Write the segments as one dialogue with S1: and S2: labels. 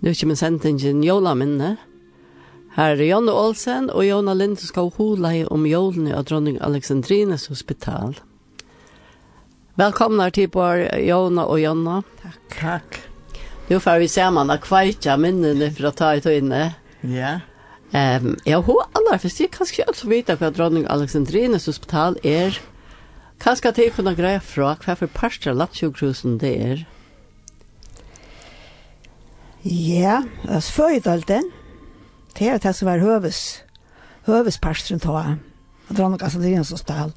S1: Nu kommer sendingen Jólaminne. Her er Janne Olsen og Jona Lind skal hula i om jólene av dronning Alexandrines hospital. Velkomna til bare Jona og Jonna.
S2: Takk. Takk.
S1: Nu får vi se man har kveitja minnene fra ta i tøyne.
S2: Ja.
S1: Um, ja, hun aller først, jeg kan ikke også vite hva dronning Alexandrines hospital er. Kanskje at jeg kunne greie fra hva for parster landsjukhusen det er.
S3: Ja, altså føydalden, det er det som var høves, høvesparstren ta, dronning Kastanrines hospital.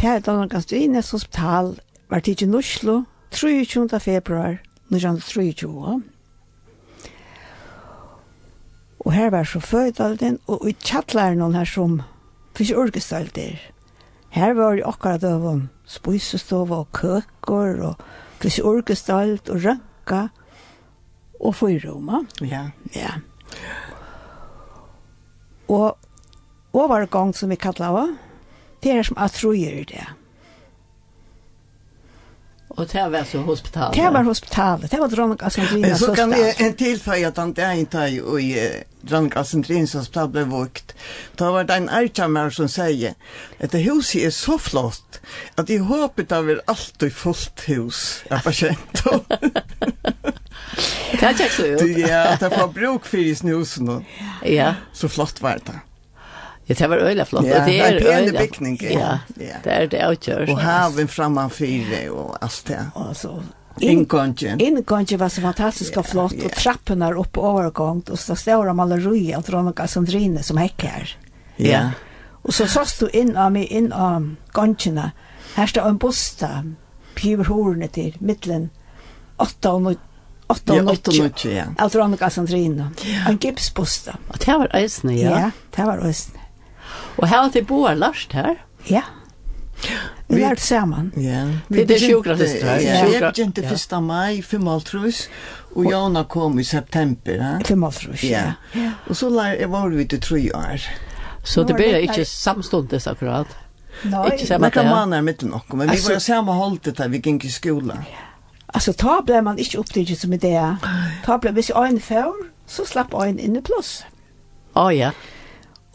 S3: Det er dronning Kastanrines hospital, var tidlig i Oslo, 23. februar, 1923. Og her var så føydalden, og i tjattlæren noen her som, for ikke orkestalt der. Her var det akkurat av om spisestov og køker, og for ikke orkestalt, og rønka, og fyrroma.
S2: Ja.
S3: Ja. Og overgang som vi kallar det, det er som atrojer det.
S1: Og det var så hospitalet.
S3: Det var hospitalet, det var dronning
S2: Men
S3: Asandrina
S2: så kan jag en tillföra att han där inte har i eh, Drank Asendrins hospital blev vågt. Då var det en ärkamär som säger att det huset är så flott att i hoppet av er alltid fullt hus. Jag bara känt om.
S1: Det er ikke så jo.
S2: Ja, att jag får bruk för i snusen.
S1: Ja,
S2: Så flott var det.
S1: ja, det var øyla flott.
S2: Ja,
S1: og det
S2: det er en pene
S1: øyla-
S2: bygning, ja.
S1: Ja,
S2: Ja.
S1: det er det avgjørs.
S2: Och haven framför och allt det.
S3: Altså, inn-
S2: Inkongen.
S3: Inngangen var så fantastisk og flott,
S2: ja.
S3: og trappen er oppe overgangt, og så står det maleri av dronning Asandrine som hekk her.
S2: Ja.
S3: Og så sås du inn av meg, inn av gangene. Her står en bosta, piver horene til, middelen, 8 og 9.
S2: Ja, åtta och nio, ja.
S3: Av dronning Asandrine. En gipsbosta.
S1: Og det var eisne, ja.
S3: Ja, det var østen.
S1: Og her var det boer Lars her.
S3: Ja. Vi
S2: Vi-
S3: lærte sammen.
S2: Ja.
S1: Det är sjukgymnaster.
S2: Ja,
S1: Sjukgymnaster.
S2: jag begynte första maj, fem altrus, och Jana kom i september. Ja.
S3: Til Malfrus.
S2: Ja. Och så lär jag var vi till tre år.
S1: Så det
S3: Nå var
S1: ble
S3: det-
S1: ikke samstundes akkurat.
S3: Nei,
S1: Ikke samme
S2: Några
S1: det, ja.
S2: månader mitt i något, men vi
S3: Alltså-
S2: var i samma hållet där vi gick i skolan.
S3: altså ta ble man ikke oppdaget som idé. Ta ble, hvis øyn før, så slapp øyn inn i plass.
S1: Å ja,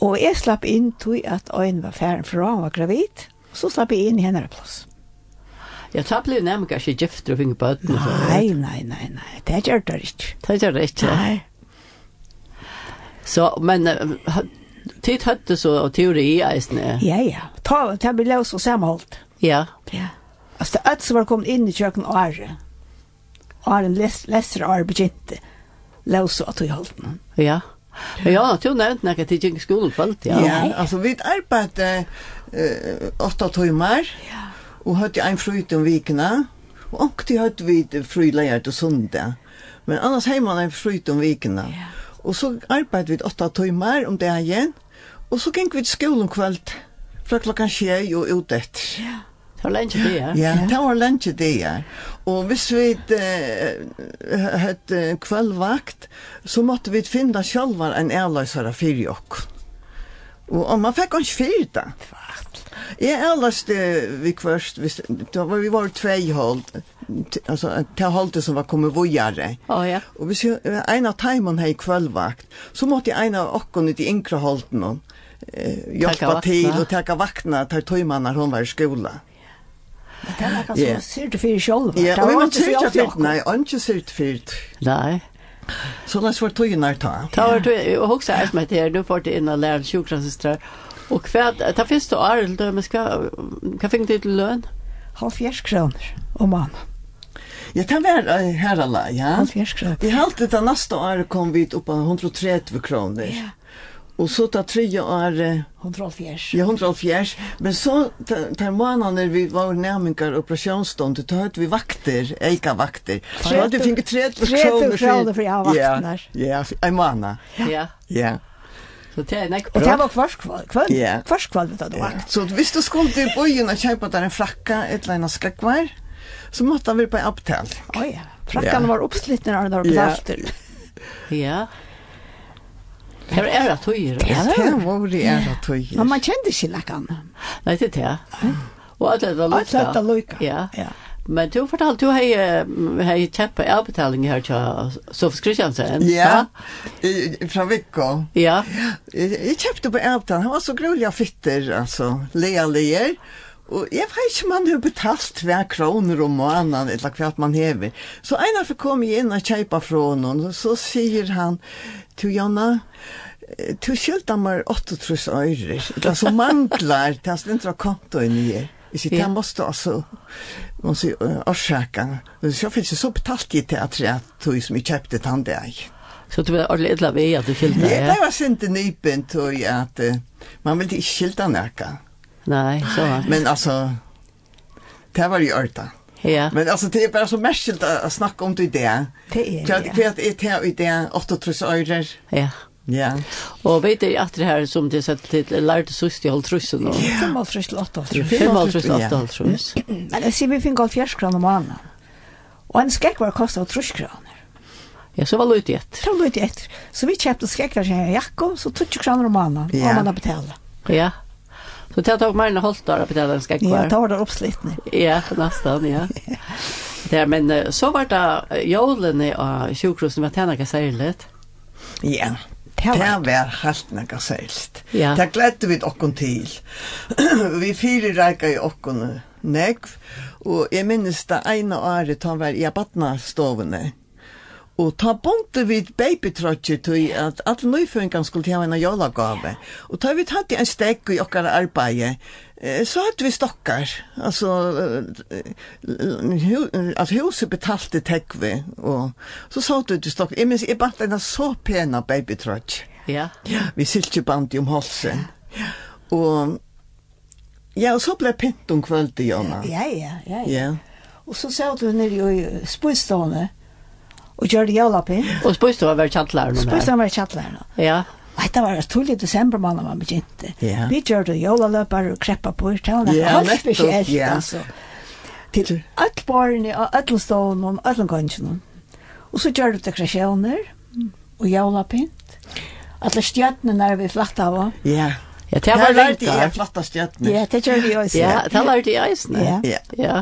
S3: Og jeg slapp inn til at øyn var ferdig fra han var gravid, så slapp jeg inn i henne i plass.
S1: jeg tar ble nemlig ikke gifter og finge bøten. og er så.
S3: Nei, nei, nei, nei, det gjør det ikke.
S1: Det gjør det ikke.
S3: Nei.
S1: Så, men eh, tid høtte så og teori i eisne.
S3: Ja, ja. Ta, ta ble løs og samholdt.
S1: Ja,
S3: Ja. Altså, det er alt som var kommet inn i kjøkken og ære. Æren leser og ære begynte. Løs og at hun holdt den.
S1: ja. Men ja, du nevnte nekka til gikk i skolen kvalt, ja.
S2: Ja, alltså vi arbetade eh, åtta timmar och hade en frut om vikerna. Och åkte hade vi frilägare till söndag. Men annars hade man en frut om vikerna. Och så arbetade vi åtta timmar om det igen. Och så gick vi till skolan kväll från klockan tjej og ut efter.
S1: Det var lenge det, ja.
S2: Ja, det var lunch det ja. Og hvis vi uh, hadde kveldvakt, så måtte vi finne sjølver en ærløsere for jokk. Og, og man fikk ikke fyrt det. Jeg ærløste vi først, hvis, da var, vi var tvei hold, t- altså til holdet som var kommet vågjere.
S1: Å ja.
S2: Og hvis jeg, en av timen her i kveldvakt, så måtte jeg en av åkken ut i yngre holden hon, eh, hjelpe
S1: vaktene.
S2: til og takke vaktene til tøymene når hun var i skolen.
S3: Det er noe
S2: Ja.
S3: som sier du fyrir sjolv.
S2: Ja, og vi må syrja fyrt,
S3: nei.
S2: nei, ikke syrja fyrt.
S1: Nei.
S2: Så la oss være tøyene ta.
S1: Ta var du och också är med det nu får det in och lära sjuksköterskor. Och kvad ta finns det är det men ska kan fick det lön.
S3: Halvfjerds kroner om mannen.
S2: Ja, det var eh, her alle, ja.
S3: Halvfjerds kroner.
S2: I halvt det neste året kom vi opp av 130 kroner.
S3: Ja.
S2: Og så ta tre år, eh,
S3: Hundra halvfjerds.
S2: ja, 104. Men så, ta- ta måneder vi var nærmengar operasjonsstånd, da hadde vi vakter, eika vakter. Så hadde vi finket 30
S3: 30
S2: kroner.
S3: kroner for ja, vakterna.
S2: Ja, ja, en måned.
S1: Ja.
S2: Ja.
S1: Så det är näck
S3: Og det
S1: bra.
S3: var kvart kvart kvart
S2: Ja.
S3: kvart kvart vet du
S2: Ja.
S3: vakt.
S2: Så hvis du skulle til byen og kjøpe der en frakka, et eller annet skakvar, så måtte han være på en opptall.
S3: Oj, ja. Frakkan
S2: Ja.
S3: var uppsliten när den var
S2: Ja.
S3: betalt.
S1: Ja. Här är det höjer.
S3: Ja, det
S2: Det
S3: var-
S2: var det er at tog.
S3: Men man kände sig lakan.
S1: er Nej det är det. Och att det var
S3: Allt
S1: lust.
S3: detta lojka.
S1: Ja.
S3: Ja.
S1: Men du fortalte, du har eh, hei kjempe avbetaling her til Sofus Kristiansen.
S2: Ja, i- i- fra Vikko.
S1: Ja,
S2: Jeg jeg kjøpte på Elbtan, han var så grulig av fitter, altså, lea leer. Og jeg vet ikke om han har betalt um tve kroner om måneden, eller hva man hever. Så en av kom jeg inn og kjøpte fra noen, og så sier han til Janna, eh, du skylder meg 8 øyre, eller så mangler til han slinter av kontoen i her. Jeg sier,
S1: Ja.
S2: det måste altså, man sier, eh, årsaka. Så finnes jeg så betalt i teatret, tog som jeg kjøpte til han det
S1: så du var ordentlig edla ved at du skilte.
S2: Ja,
S1: Ja,
S2: det var sinte nypen tog jeg at eh, man ville ikke skilta nærka.
S1: Nei, så var det.
S2: Men altså, det var jo ørta.
S1: Ja,
S2: Men altså, det er bare så merskilt å å snakke om det i det.
S3: Det
S2: Det
S3: er
S2: er
S3: det.
S2: hva det er til i det, 38 øyrer.
S1: ja.
S2: Ja.
S1: Og vet du at det her som det sett til lærte sust i halvtrussen og
S3: Fem og trus til åtta.
S1: fem halvtrus til åtte
S2: Ja.
S1: halvtrus.
S3: Mm, Men jeg sier vi fikk alt fjers kroner om måneden. Og en skrekkvar kostet trus kroner.
S1: Ja, så var lute ett.
S3: Det var litt etter. Så vi kjøpte skrekkvar til en jakke, så 20 kroner om måneden.
S2: Ja.
S3: Og man har betalt.
S1: Ja. Så det tok mer enn halvt år å betale en skekk
S3: Ja,
S1: var.
S3: da var det oppslitning.
S1: Ja, nästan, ja. Det er, men eh, så var det jolene av sjukrosen med tæna særligt.
S2: Ja.
S3: Det var-
S2: Det var helt nekka sælst.
S1: Ja.
S2: Det gledde vi okkon til. vi fire reika i okkon negv, og jeg minnes det ene året han var i abatna-stovene. Og ta bonte vi babytrotcher til at at nøyføringen skulle ha en jolagave. Og ta vi tatt i en stekk i okkar arbeid, eh, så hadde vi stokkar. Altså, eh, eh, hu- at huset betalte tekve, og så sa du til stokkar. Jeg minns, jeg bant en så pena babytrotcher.
S1: Ja.
S2: Vi silkeband i om halsen. Og, ja, og så ble pint om kvöldet, Jonna.
S3: Ja, ja, ja. ja.
S2: Ja.
S3: Og så satt vi nede i spøystående og gjør det jævlapi.
S1: Og spørste var vært kjantlæreren om det.
S3: Spøystående var i kjattlærerne.
S1: Ja,
S3: Nei, det var et tullig desember man var begynte.
S2: Ja.
S3: Vi gjør det jævlaløpere og kreppa på i talen.
S2: Ja,
S3: Ja, helt
S2: nettopp,
S3: er spesielt,
S2: ja.
S3: altså. Til alle barene og alle stående og alle gangene. Og så gjør det dekorasjoner og jævlapint. Alle stjøttene når vi flatt av.
S2: Ja.
S1: ja det var
S2: lærte jeg
S1: lærte.
S2: flotta stjøtner.
S3: Ja, det gjør vi også.
S1: Ja, det lærte jeg eisene.
S3: Ja.
S2: Ja.
S1: Ja.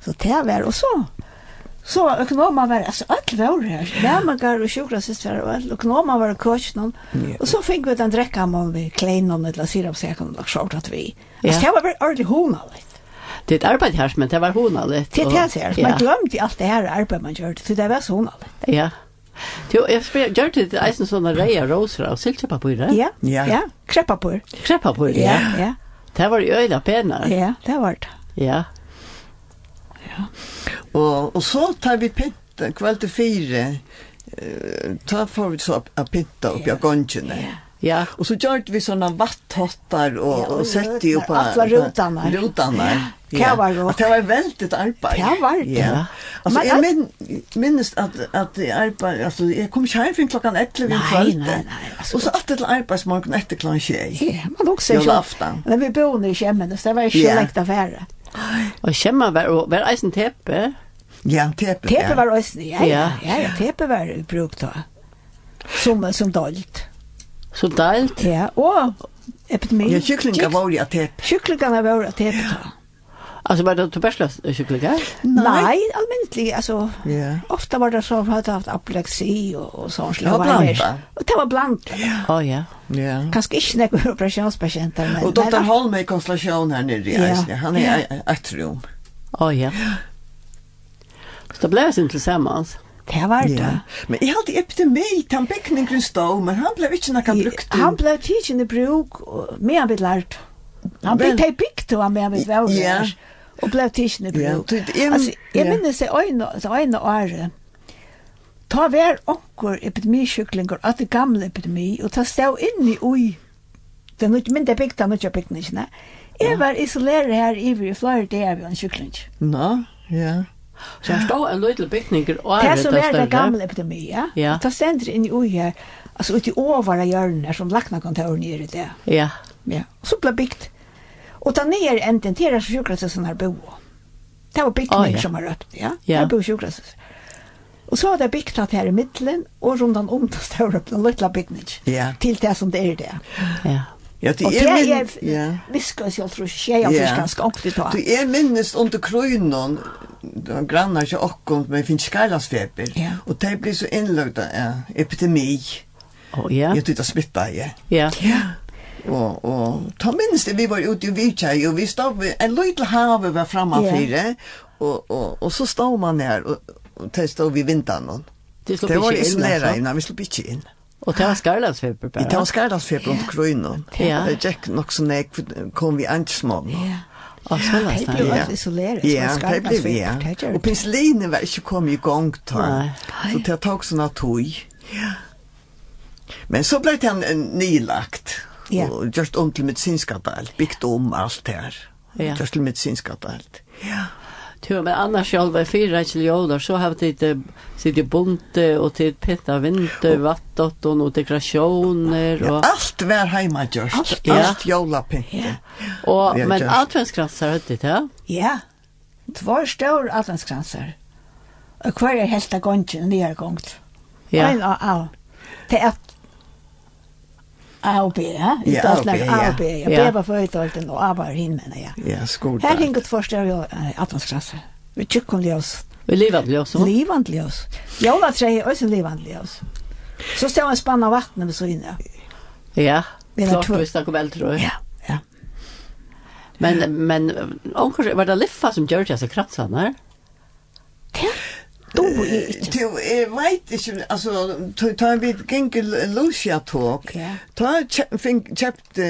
S3: Så det var og så. Så var økonomer var, altså alle var her. Lærmager og sjukkerhetssyster og alle økonomer var køkken.
S2: Ja.
S3: Og så fikk vi den drekka med vi klein om eller sirapseken og skjort at vi.
S1: Ja.
S3: Altså det var bare ordentlig hona litt.
S1: Det er et arbeid her, men det var hona litt.
S3: Til
S1: og-
S3: det her,
S1: Ja.
S3: man glemte alt det her arbeidet man gjorde, så det var så hona litt.
S1: Ja. Jo, jeg spør, gjør det eisen sånne reia roser av silkepapyrer?
S3: Ja,
S2: Ja.
S3: ja, ja. kreppa på.
S1: Kreppapyrer?
S3: Ja, ja,
S1: Det var jo øyla penar.
S3: ja, det var det.
S1: Ja.
S2: Og, og så tar vi pinta kveld til fire. eh, Ta får vi så opp- å pinta opp i gongene.
S3: Ja.
S1: Ja.
S2: Og så gjør vi sånne vatthottar og,
S3: Ja,
S2: og,
S3: og
S2: sette jo på...
S3: alla rutarna.
S2: Rutarna.
S3: Ja, det var gott.
S2: Att det var väldigt arbeid.
S3: Det var det.
S2: Ja. Alltså,
S3: Men
S2: jag
S3: att-
S2: min, minns att, att det arbeid, alltså, jag kom inte hem från klockan 11 i
S3: Nej,
S2: kvällen.
S3: nej, nej, alltså.
S2: Och så alltid till arbeidsmorgon efter klockan 21.
S3: Ja, man også ikke.
S2: Julaften.
S3: Men vi bodde i Kjemmen, så det var ikke
S2: Ja.
S3: lekt affære.
S1: Og kjemma var, og var eisen tepe.
S2: Ja, tepe.
S3: Tepe var også, ja, ja,
S1: Ja.
S3: ja, ja, tepe var i bruk da. Som, som dolt.
S1: Så deilt.
S3: Ja, og epidemi.
S2: Ja, kycklingar var ju att tepe.
S3: Kycklingarna var att tepe ta.
S1: Altså, var det tobersløs kycklingar?
S3: Nej, allmäntlig, alltså.
S2: Ja.
S3: Ofta var det så att hade haft apoplexi och, och sånt.
S2: Det var
S3: slavar.
S2: blandat.
S3: Och det var blandat.
S1: Å, ja.
S2: Ja.
S3: Kanske inte några operationspatienter. Men,
S2: Och doktor Holm är i konstellation här nere i
S3: Ja.
S2: Eisne. Han är i ett rum.
S1: Å, ja. Så det ble vi sin tilsammans.
S3: Det var det.
S2: Ja. Men jag hade epidemi, han byggningen stod, men han blev inte någon brukt.
S3: Han blev tidsen i bruk, och mer vid lärt. Han blev
S2: Men-
S3: till pikt och han mer vid väl
S2: Ja.
S3: där. Och blev tidsen i
S2: Ja,
S3: bruk.
S2: du- det är-
S3: Alltså, jag
S2: ja.
S3: minns det öjna, det öjna året. Ta vär onkur epidemisjuklingar, att det gamla epidemi, och ta stå in i oj. Det är inte mindre pikt, det är inte pikt, inte. Jag var isolerad här i Florida, det är vi en sjukling.
S2: Nå, ja.
S1: Så her stod en løytel bygninger og
S3: Det
S1: er
S3: er som er det
S1: større.
S3: gamle epidemi, ja.
S1: Ja.
S3: Og Ta ständer in i oj här, alltså ut i övre hjörnor som lacknakontoren är det där.
S1: Ja.
S3: Ja, så blev byggt. Och ta ner en tentera sjukhuset som här bo. Det var byggt
S1: Ah,
S3: mig
S1: ja.
S3: som har rött, ja.
S1: Ja.
S3: Här bo sjukhuset. Och så har det byggt att här i mitten och runt om det stora den lilla byggnaden.
S2: Ja.
S3: Till det som det är det.
S1: Ja.
S2: Ja, det
S3: Og
S2: er
S3: det
S2: min...
S3: er-
S2: Ja.
S3: Viskar sig tror jag jag
S2: Ja.
S3: fick ganska ordentligt då.
S2: Du er minnest under krøynon, da grannar ikke okkom, men finnes skærlasfeber.
S3: Ja.
S2: Og det blir så innlagt av ja, epidemi.
S1: Å ja.
S2: Jeg tykker smitta jeg.
S1: Ja.
S3: Ja.
S2: Og, og ta minst det, vi var ute i Vittkjei, og vi stod ved en løytel havet var framme
S3: Ja.
S2: fire, og, og, og så stod man her, og, og det stod vi vintan.
S1: Det slår
S2: Det var
S1: ikke inn,
S2: isolera
S1: altså.
S2: inn, vi slapp ikke inn.
S1: Og det var skarlandsfeber
S2: Vi tar
S1: bare.
S2: skærlasfeber under krøynon.
S1: Ja.
S2: Det gikk nok sånn jeg kom vi ansmål.
S3: Ja.
S1: Og så
S3: Det
S1: lest
S3: blev
S1: det.
S2: Ja.
S3: ju isolerat.
S2: Ja, det blev vi, ja. Og penicillinen var ikke kommet i gang
S1: Nei.
S2: da. Så det tok sånn at tog. Men så ble det en- en nylagt.
S3: Ja.
S2: Og just om til medicinska dalt. Bygd om alt her.
S1: Ja.
S2: Just til medicinska dalt. Ja.
S1: Tu, men annars sjálv är fyra kiljoner så har vi det sitt i bonte och till petta vinter, vattnet och dekorationer och
S2: Alt var heima just.
S3: Alt,
S2: Alt,
S1: ja.
S2: alt jólapynte.
S3: Ja.
S1: och
S2: Ja,
S1: men
S2: just.
S1: adventskransar hade det ja.
S3: Ja. Två stora atlantskransar. Och kvar är helt gången ner gångt.
S1: Ja.
S3: Ein av av. Det är A och B, ja.
S2: Ja,
S3: Det är slag
S2: A og B,
S3: A
S2: ja.
S3: och B.
S1: Ja.
S3: Jag blev förut och A var hin men ja.
S2: Ja, skoda.
S3: Här hingot första jag atlantskransar. Vi tycker det oss.
S1: Vi lever blir så.
S3: Livant ljus. Jólatræi er også livant ljus. Så stod en spann av vattnet ved siden av.
S1: Ja.
S3: Vi har
S1: Klart
S3: två.
S1: vi snackar väl tror jag.
S3: Ja, ja.
S1: Men men onkel var det Liffa som gjorde dessa kransarna?
S3: Det då er
S2: Eh,
S3: ikke.
S2: Du, jeg vet ikke, altså, ta- ta en bit gengur Lucia tåk,
S3: Ja.
S2: ta kjøpte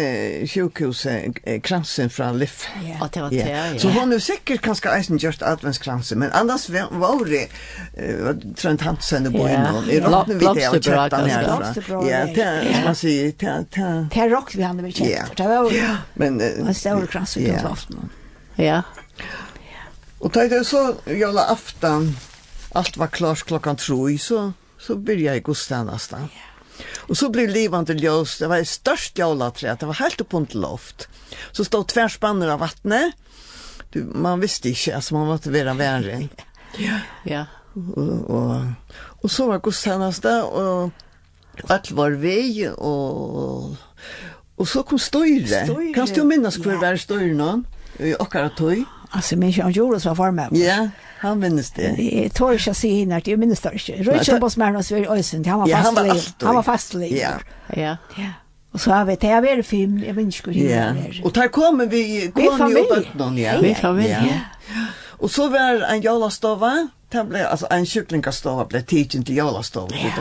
S2: sjukhuset eh, kransen fra Liff.
S3: Ja.
S1: Ja, det var det.
S2: Ja.
S1: Ja.
S2: Så hon är säkert kanske eisen gjort adventskransen, men annars var- var det uh, Trent Hansen och
S1: Ja.
S2: Boino. I
S1: Bla-
S2: rotten vid det jag
S1: blomsterbra
S2: köpte den
S1: kanske.
S2: härifrån.
S3: Blomsterbra,
S2: Ja,
S3: ja.
S2: det är som man säger. Det är- det är-
S3: Det rock vi hade vi
S2: Ja.
S3: kjent. Det var jo
S2: Men, eh,
S3: en stor krans vi
S2: ja.
S3: tog aften.
S1: Ja.
S2: Och då det så jolla aftan, allt var klart klockan tre, så, så började jag gå nästan. Och så blev livande ljus, det var ett störst jolaträd, det var helt uppe under loft. Så stod tvärspannar av vattnet, du, man visste inte, alltså man var inte vera värre.
S1: Ja.
S2: og, og, og så var gudstjeneste, og alt var vei, og, og så kom støyre.
S3: Støyre,
S2: Kan du minnes hvor
S3: ja.
S2: var støyre nå? I okkara tøy.
S3: Altså, men ikke han gjorde det som var form av.
S2: Ja, han minnes det.
S3: Jeg tør ikke å si henne at jeg minnes det ikke. Rødkjøp oss med oss ved Øysund, han var
S2: Ja, han var
S3: fastlig.
S2: alltid.
S3: Han var fastlig.
S2: Ja.
S1: Ja.
S3: Ja. Og så har vi, det er veldig film, jeg minnes ikke hvor
S2: Ja,
S3: henne er.
S2: og der kom vi, kom
S3: familj.
S2: og bøttene, ja.
S1: Vi familj.
S2: Ja. Og så var en jolastova, det ble, altså en kyklingastova ble tidsen til jolastova. Ja.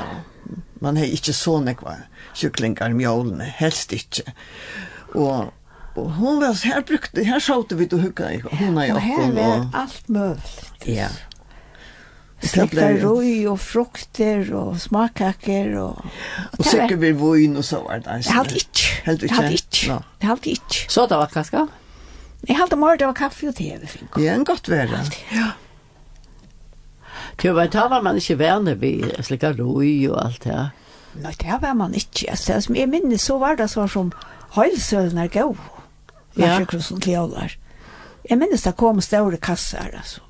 S2: Man har ikke så nekva kyklingar mjolene, um helst ikke. Og, og hun var, her brukte, her sjåte vi til hukka, hun er
S3: Og her
S2: jokken,
S3: var
S2: og,
S3: alt mulig.
S2: ja. er-
S3: Stekta
S2: Det blev-
S3: røy og frukter og smakkaker og...
S2: Og er- sikkert vi vun og så var det.
S3: Jeg halte ikke.
S2: Helt ikke?
S3: Jeg halte ikke.
S2: Nå.
S3: Jeg halte ikke.
S1: Så det var kaska.
S3: Jeg halte morgen det var kaffe og te vi fikk.
S2: Ja, en godt være. Ja.
S1: Tu, men ta var man inte vänner vid slicka roj och allt det.
S3: Nei, det var man ikke. Altså, det er som jeg minnes så var det sånn som høylsølen er gøy. Ja.
S1: Ja.
S3: Varsjekrossen til jævlar. Jeg minnes det kom store kasser, altså.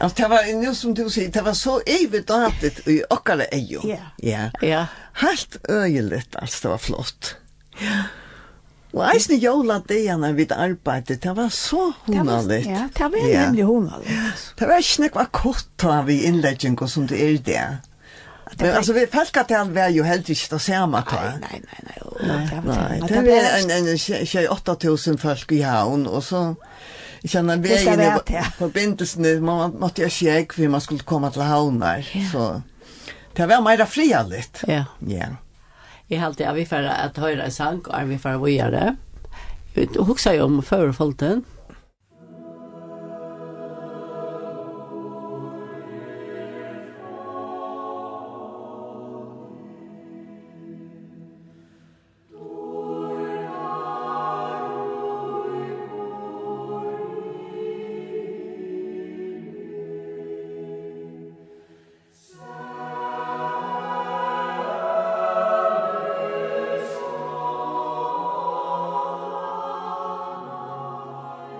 S2: Alltså det var nu som du säger, det var så överdatigt i okkara ejo.
S3: Ja.
S2: Ja.
S1: Ja.
S2: Helt öjligt alltså, det var flott. Ja. Og eisen jola degene vid arbeidet, det var så
S3: Det var-
S2: hundaligt.
S3: Ja, det var yeah. nemlig hundalig. altså.
S2: Det var ikke nekva kort da vi innlegging og som det er i det. Men altså, vi felkatel var jo helt ikke det samme da.
S3: Nei, nei, nei, nei. og det var-
S2: Nei,
S3: men
S2: det
S3: ble-
S2: var en, en, en 8000 folk i havn, og så jeg kjenner
S3: Det skal
S2: veien
S3: være
S2: i
S3: til.
S2: forbindelsen, man måtte jeg sjekke for man skulle komme til havner, så det var mer fria litt.
S1: Ja.
S2: Ja.
S1: Jeg halte jeg vi får at høyre en sang, og vi får vågjere. Huksa jo om førefolten.
S4: Amen.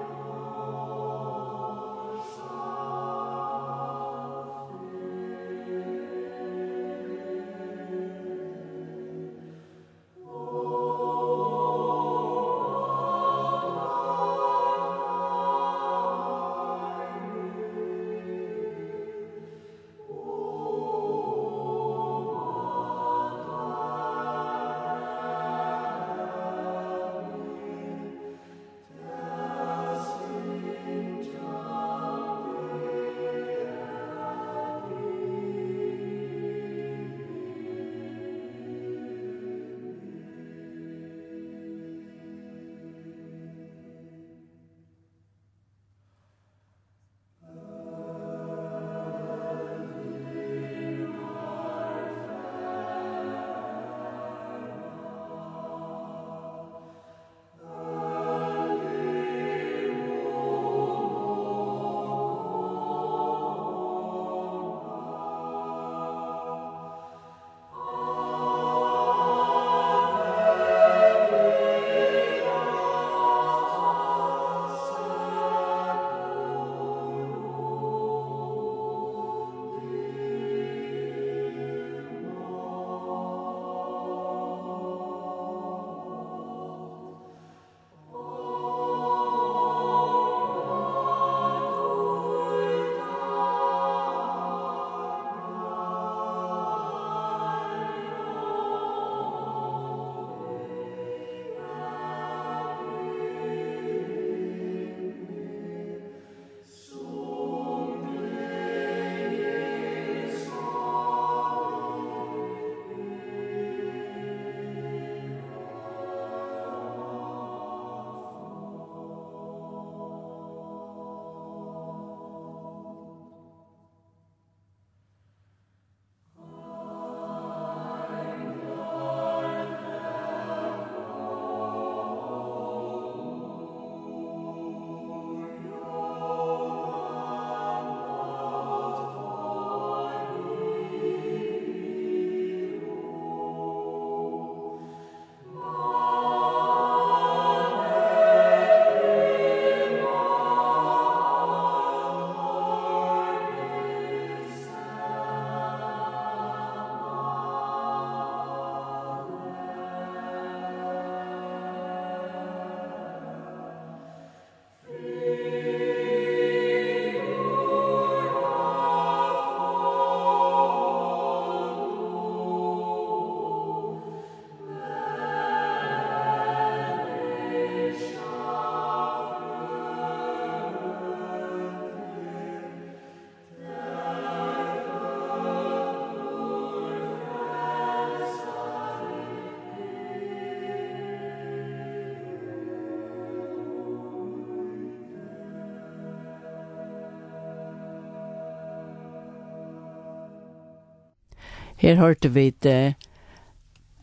S1: Her hørte vi det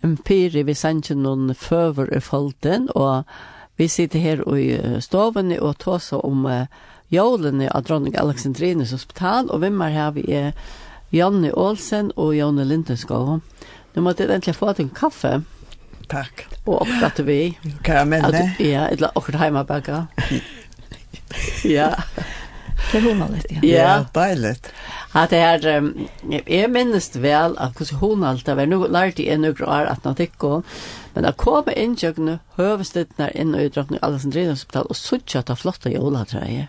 S1: en pyre vi sendte noen føver i folden, og vi sitter her i eh, stovene og tåser om uh, jolene av dronning Alexandrines hospital, og hvem er her vi er Janne Olsen og Janne Lindeskov. Nå måtte jeg egentlig få til en kaffe,
S2: Takk.
S1: og oppdatte vi. At,
S2: Karamelle.
S1: ja, et la okkur heima baka. er ja,
S3: Det er hun litt, ja.
S1: ja.
S2: deiligt.
S1: At det er, um, jeg minnes vel at hvordan hun alt det var, nå lærte jeg noen år at nå tikk hun, men at komme innkjøkkene høvestittene inn er og utdragene i Alexandrina hospital og suttje at det flotte jolatreie.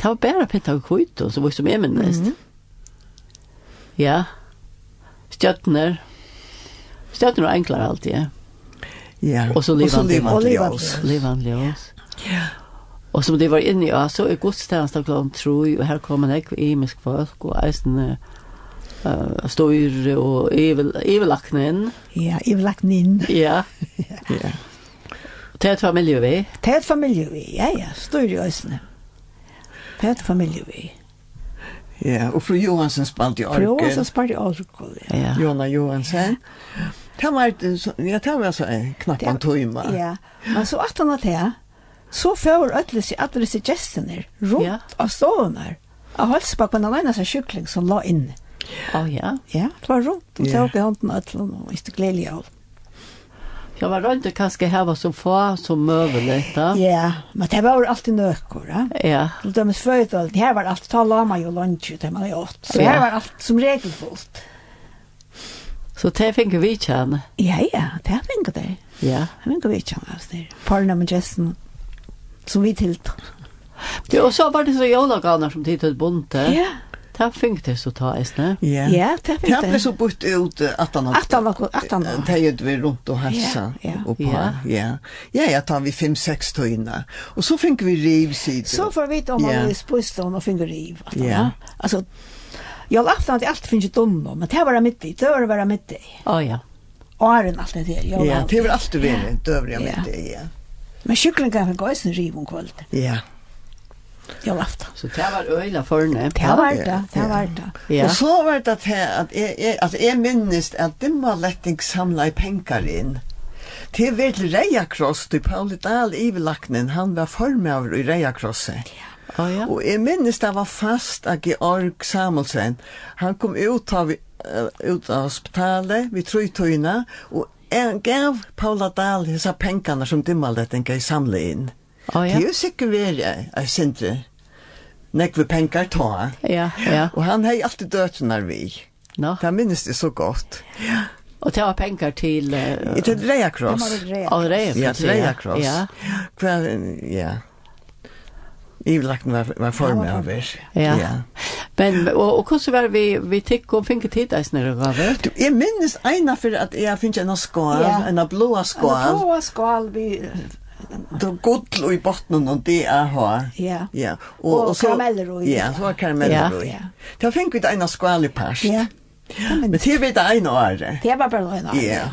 S1: Det var bare pinta og kvitt, så hvor som jeg minnes. Ja, er- stjøttner. Stjøttner og enkler er alltid, ja.
S2: Ja.
S1: Og så livande.
S3: Og
S2: livande
S3: livande.
S2: ljus.
S1: Livan Ljós. Ja. Og som det var inne i, ja, så er godstjeneste klokken troi, og her kommer en ekv imisk folk, og eisen uh, støyre og ivelakne inn.
S3: Ja, jeg vil lagt den inn.
S1: Ja,
S2: Ja.
S1: og det er et familie vi.
S3: Det er et familie vi, ja, ja, står i øsene. Det er et familie vi.
S2: Ja, og fru Johansen spalt i
S3: For jo, så
S2: orken.
S3: spør jeg alkohol, ja.
S1: Ja,
S2: Jona Johansen. Det var, et, så- ja, det var så eh, knapp en timme.
S3: er Ja, men så at han at det, så får alle seg alle disse gestene rundt
S1: Ja.
S3: av stående. Av halsbak på den ene seg kjøkling som la inn.
S1: å ja.
S3: Ja, det var rundt, og
S2: Ja.
S3: tok i hånden av alle, og ikke gledelig av.
S1: Jeg var rundt og kanskje her var så få som møvelig da.
S3: Ja, men det var alltid nøkker, ja.
S1: Ja,
S3: Til dømes fødalen, her var alt, ta lama jo lunsj, det man jo åt. Så
S1: Ja.
S3: her var alt som regelfullt.
S1: så det fikk vi kjenne.
S3: Ja, ja, det er vinket det.
S1: Ja.
S3: Det er vinket vi ikke av det. Parna med gesten, som vi tilt.
S1: Jo, og så var det så jolaganer som tid til bonte. Ja.
S3: Ja,
S1: Det fikk det så ta, eisne.
S2: Ja.
S3: ja, det er
S2: Det ble
S3: vinket det.
S2: så bort ut eh, at han
S3: At han var, at
S2: Eh,
S3: han var.
S2: Teget vi rundt og halsa
S3: Ja, ja.
S2: og på.
S1: Ja.
S2: Ja. ja. Ja, jeg tar vi fem-seks tøyene. Og så fikk vi rivsider.
S3: Så får vi vite om
S2: Ja.
S3: man är spust om och finner riv. att han-
S2: Ja.
S3: Alltså, jag laftar att allt finns ju dumt, men det här var det mitt i, det var det var mitt i.
S1: Å ja.
S3: Åren allt det där. jag
S2: Ja,
S3: laftar.
S2: det var alltid vi døvrig
S3: Ja.
S2: med det, ja.
S3: Men kyckling kan gå i sin riv om kvöld.
S2: Ja.
S3: Jag laftar.
S1: Så det var øyla forne.
S3: Det här var
S2: Ja.
S3: det, det här var det.
S1: Ja.
S2: Og så var det at jeg, at jeg, jeg, at jeg minnes at dimmaletting samla i penger inn. Til vel Reiakross, til Pauli Dahl Ivelaknen, han var formøver i Reiakrosset.
S1: Å ja.
S2: Og jeg minnes det var fast at Georg Samuelsen, han kom ut av, eh, ut av hospitalet ved Trøytøyene, og jeg gav Paula Dahl disse pengene som dimmaletting i samle inn.
S1: Å ja.
S2: Det er jo sikkert vært jeg sindre. Nekve penger ta.
S1: Ja, ja.
S2: Og han hei alltid døtene vi.
S1: Nå.
S2: Det minnes det så godt.
S1: Og det var pengar til uh,
S2: I til Reia Kross.
S1: Alreia.
S2: Ja, til Reia Kross.
S1: Ja,
S2: Hva, ja. Ivelakten var, var form av det.
S1: ja. ja. Men, og, og hvordan var vi, vi tikk og finke tid eis nere gaver?
S2: Du, jeg minnes ena for at jeg finnes en skål,
S3: Ja.
S2: en blåa
S3: Skål.
S2: skål,
S3: Blåa skål, vi,
S2: då godl i botten og det jeg har.
S3: ja.
S2: Ja,
S3: Og karameller i.
S2: Ja, så var karameller
S3: Ja.
S2: i. Da fikk vi en skål i parst.
S3: Ja.
S2: Men til vi det ene året.
S3: Det var bara en annan.
S2: Ja.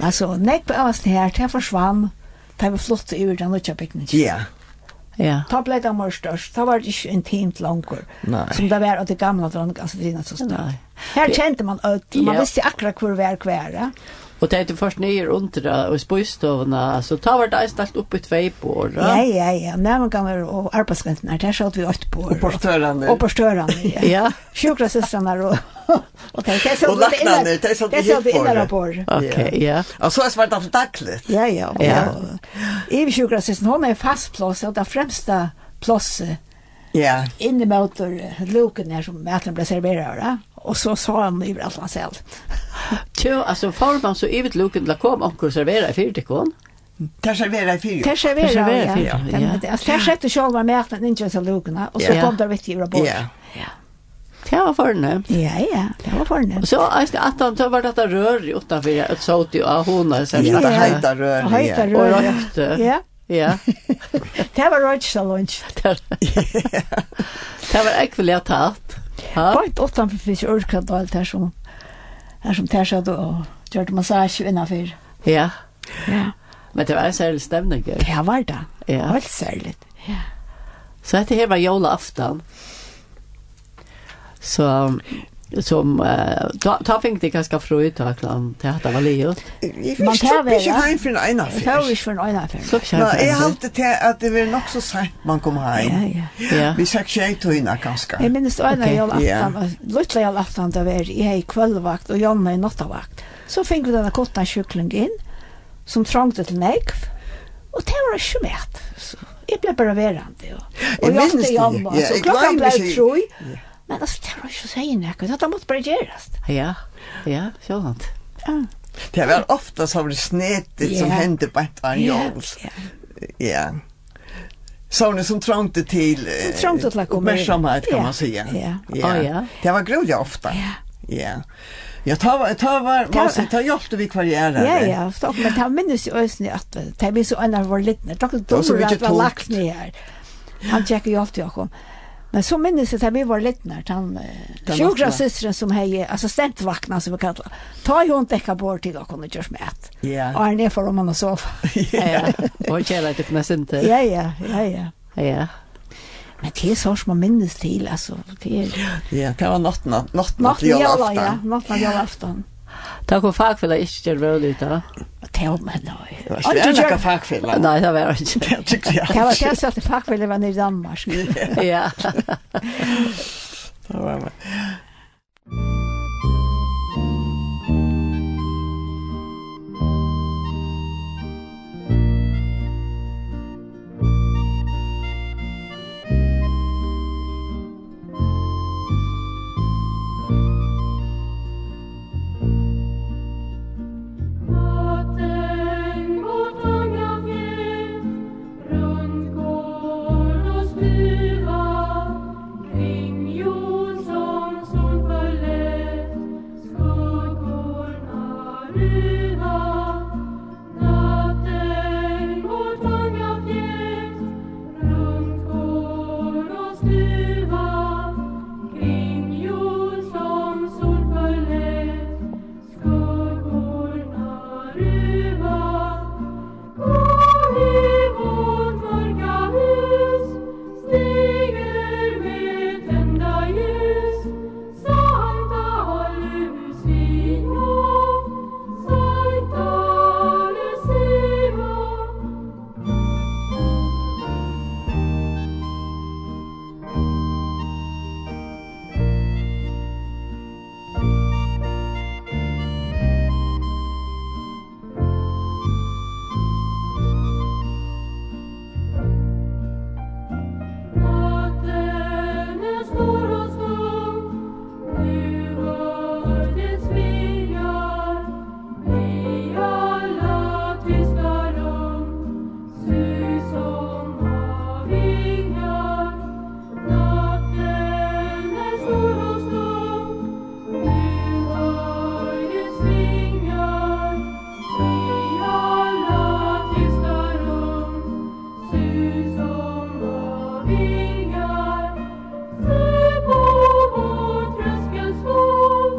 S3: Alltså, nekk på oss det här, det försvann. Det var flott ur den nutja byggningen.
S2: Ja,
S1: Ja.
S3: Ta blei det mer størst, da var det ikke intimt langer,
S2: Nei.
S3: som det var av det gamle dronning, altså det er så
S1: Nei.
S3: størst. Her kjente man ødel, man
S1: Ja.
S3: visste akkurat hvor hver hver, ja.
S1: Og det er først nye under og i spøystovene, så ta var det eis alt opp i tvei på
S3: Ja, ja, ja, nærmengammer og arbeidsgantene, der satt vi åtte på.
S2: og portørene.
S3: Og på størene, ja.
S1: Ja.
S3: Sjukrasøstrene og... Og det er
S2: Og lagnene, de satt vi
S3: det
S2: helt
S3: satt vi
S2: på
S3: innan
S2: det.
S3: på. det.
S1: Ok, ja.
S2: Og så er svart av dagligt.
S3: Ja, ja.
S1: Ja.
S3: Ivi sjukrasøstrene, hun er fast plass, og det fremste plasset
S2: Ja,
S3: inne mot eh, luken her som maten ble serveret, ja. Og så sa han i alt han selv.
S1: Tjo, altså, får man så ivet luken til å komme omkring og servera i fyrtikon?
S2: det serverer i fyr.
S3: Det serverar
S1: Det serverar
S3: ja.
S1: fyra, ja.
S3: ja. Den- Alltså där sätter själva mätaren in just luckorna och så
S1: Ja.
S3: kom det vitt i rapport.
S2: Ja.
S1: Det var fornemt.
S3: Ja, ja, det var
S1: Og
S3: förnämnt.
S1: så eis det at han, så var det at rør i utenfor, et sånt jo av hona, så
S2: Ja,
S1: er
S2: det
S1: det heit.
S2: heitar rød.
S3: Och höjta
S1: Og
S3: rör. ja.
S1: røkte.
S3: Ja,
S1: Ja. er-
S3: det var röjtsa lunch.
S1: Det var ekvelig at hatt. Ja.
S3: Point åtta för fisk urkad och allt här som här som tär sig då och gjorde massage innanför.
S1: Ja.
S3: Ja.
S1: Men det var en særlig stemning. ja.
S3: Det var det.
S1: Ja.
S3: Helt särligt.
S1: Så dette her var jolaftan. Så som eh, ta ta fick det ganska fröjt att klam det hade väl ju
S2: Jeg
S3: Man
S2: vil
S3: tar
S2: stoppe
S3: vel,
S2: ikke
S3: ja.
S2: heim for en
S3: Det var
S2: affær.
S3: ikke for en øyne affære.
S1: så
S2: Nå, jeg
S1: känns
S2: halte til at det var nok så sent man kom
S3: Ja,
S2: heim.
S3: ja.
S1: ja
S2: Vi sier ikke jeg tøyna ganske.
S3: Jeg minnes det øyne
S1: Ok.
S3: jølaftan, luttla jølaftan da var jeg i kvøldvakt og Jonna i nattavakt. Så fikk vi denne kottan kjøkling inn, som trangte til negv, og det var ikke med. Så jeg ble bare verande. Og, og
S2: Jeg
S3: jeg
S2: minnes
S3: minnes
S2: det,
S3: Jonna,
S2: ja,
S3: så
S2: jeg
S3: klokkan
S2: glemmer
S3: ble
S2: ikke-
S3: troi. Men altså, det var ikke å si nekve, det måtte bare gjøres.
S1: ja ja sånt
S2: Det var ofta så var det snedigt som
S3: Ja.
S2: hände på ett varje
S3: Ja,
S2: år.
S3: ja.
S2: Ja. Såna som trångte till
S3: Som trångte till att komma in.
S2: uppmärksamhet kan
S3: Ja,
S2: man säga.
S3: ja.
S1: Ja, ja.
S2: Det var grodja ofta.
S3: Ja.
S2: Ja. Ja, ta var ta var
S3: Ta-
S2: måste ta hjälpte vi er, kvarjärer.
S3: Ja, ja, stopp, men det minnes jo øyne at eh, det minnes jo en av våre littne. Det var ikke
S2: Det var så
S3: dummer
S2: mykje
S3: at det var
S2: tungt.
S3: lagt ned her. Han tjekker jo alltid åkom. Men så minnes jeg at vi var littne, at eh, han
S2: Den
S3: sjukra
S2: vakna.
S3: systeren som hei assistentvakna som vi kallar. Ta jo hun dekka bort til åkom og gjørs med et.
S2: Ja.
S3: Og han er for om han og sov.
S1: ja och kära det kunde inte
S3: Ja, ja, ja, ja.
S1: ja
S3: Men det er sånn som man minnes til, altså. Det er
S2: Ja, det var natten natten
S3: natt
S2: natten
S3: i
S2: jag
S3: jævla, ja.
S2: aftan.
S3: Natt i jævla aften.
S1: tack och fuck för det inte gör väl ut då
S3: Og er det var men, nei.
S2: Det var
S3: Og det
S2: svärt
S3: gjør-
S2: att fackfilla.
S1: nej det var inte
S2: Det tyckte jag.
S3: Det var det jeg sa til fakveldet var nere i Danmark.
S1: ja
S2: Det var
S4: Kring jord som sol forlät Skuggorna ruva Och i vårt mörka hus Stiger med tända ljus Sankta hallusia Sankta Lucia Natten är stor och stum, nu hör det svingar. I alla tysta rum, sus som av vingar. Natten är stor och stum, nu hör det svingar. I alla tysta rum, Sus som av vingar, se på vår tröskels vår,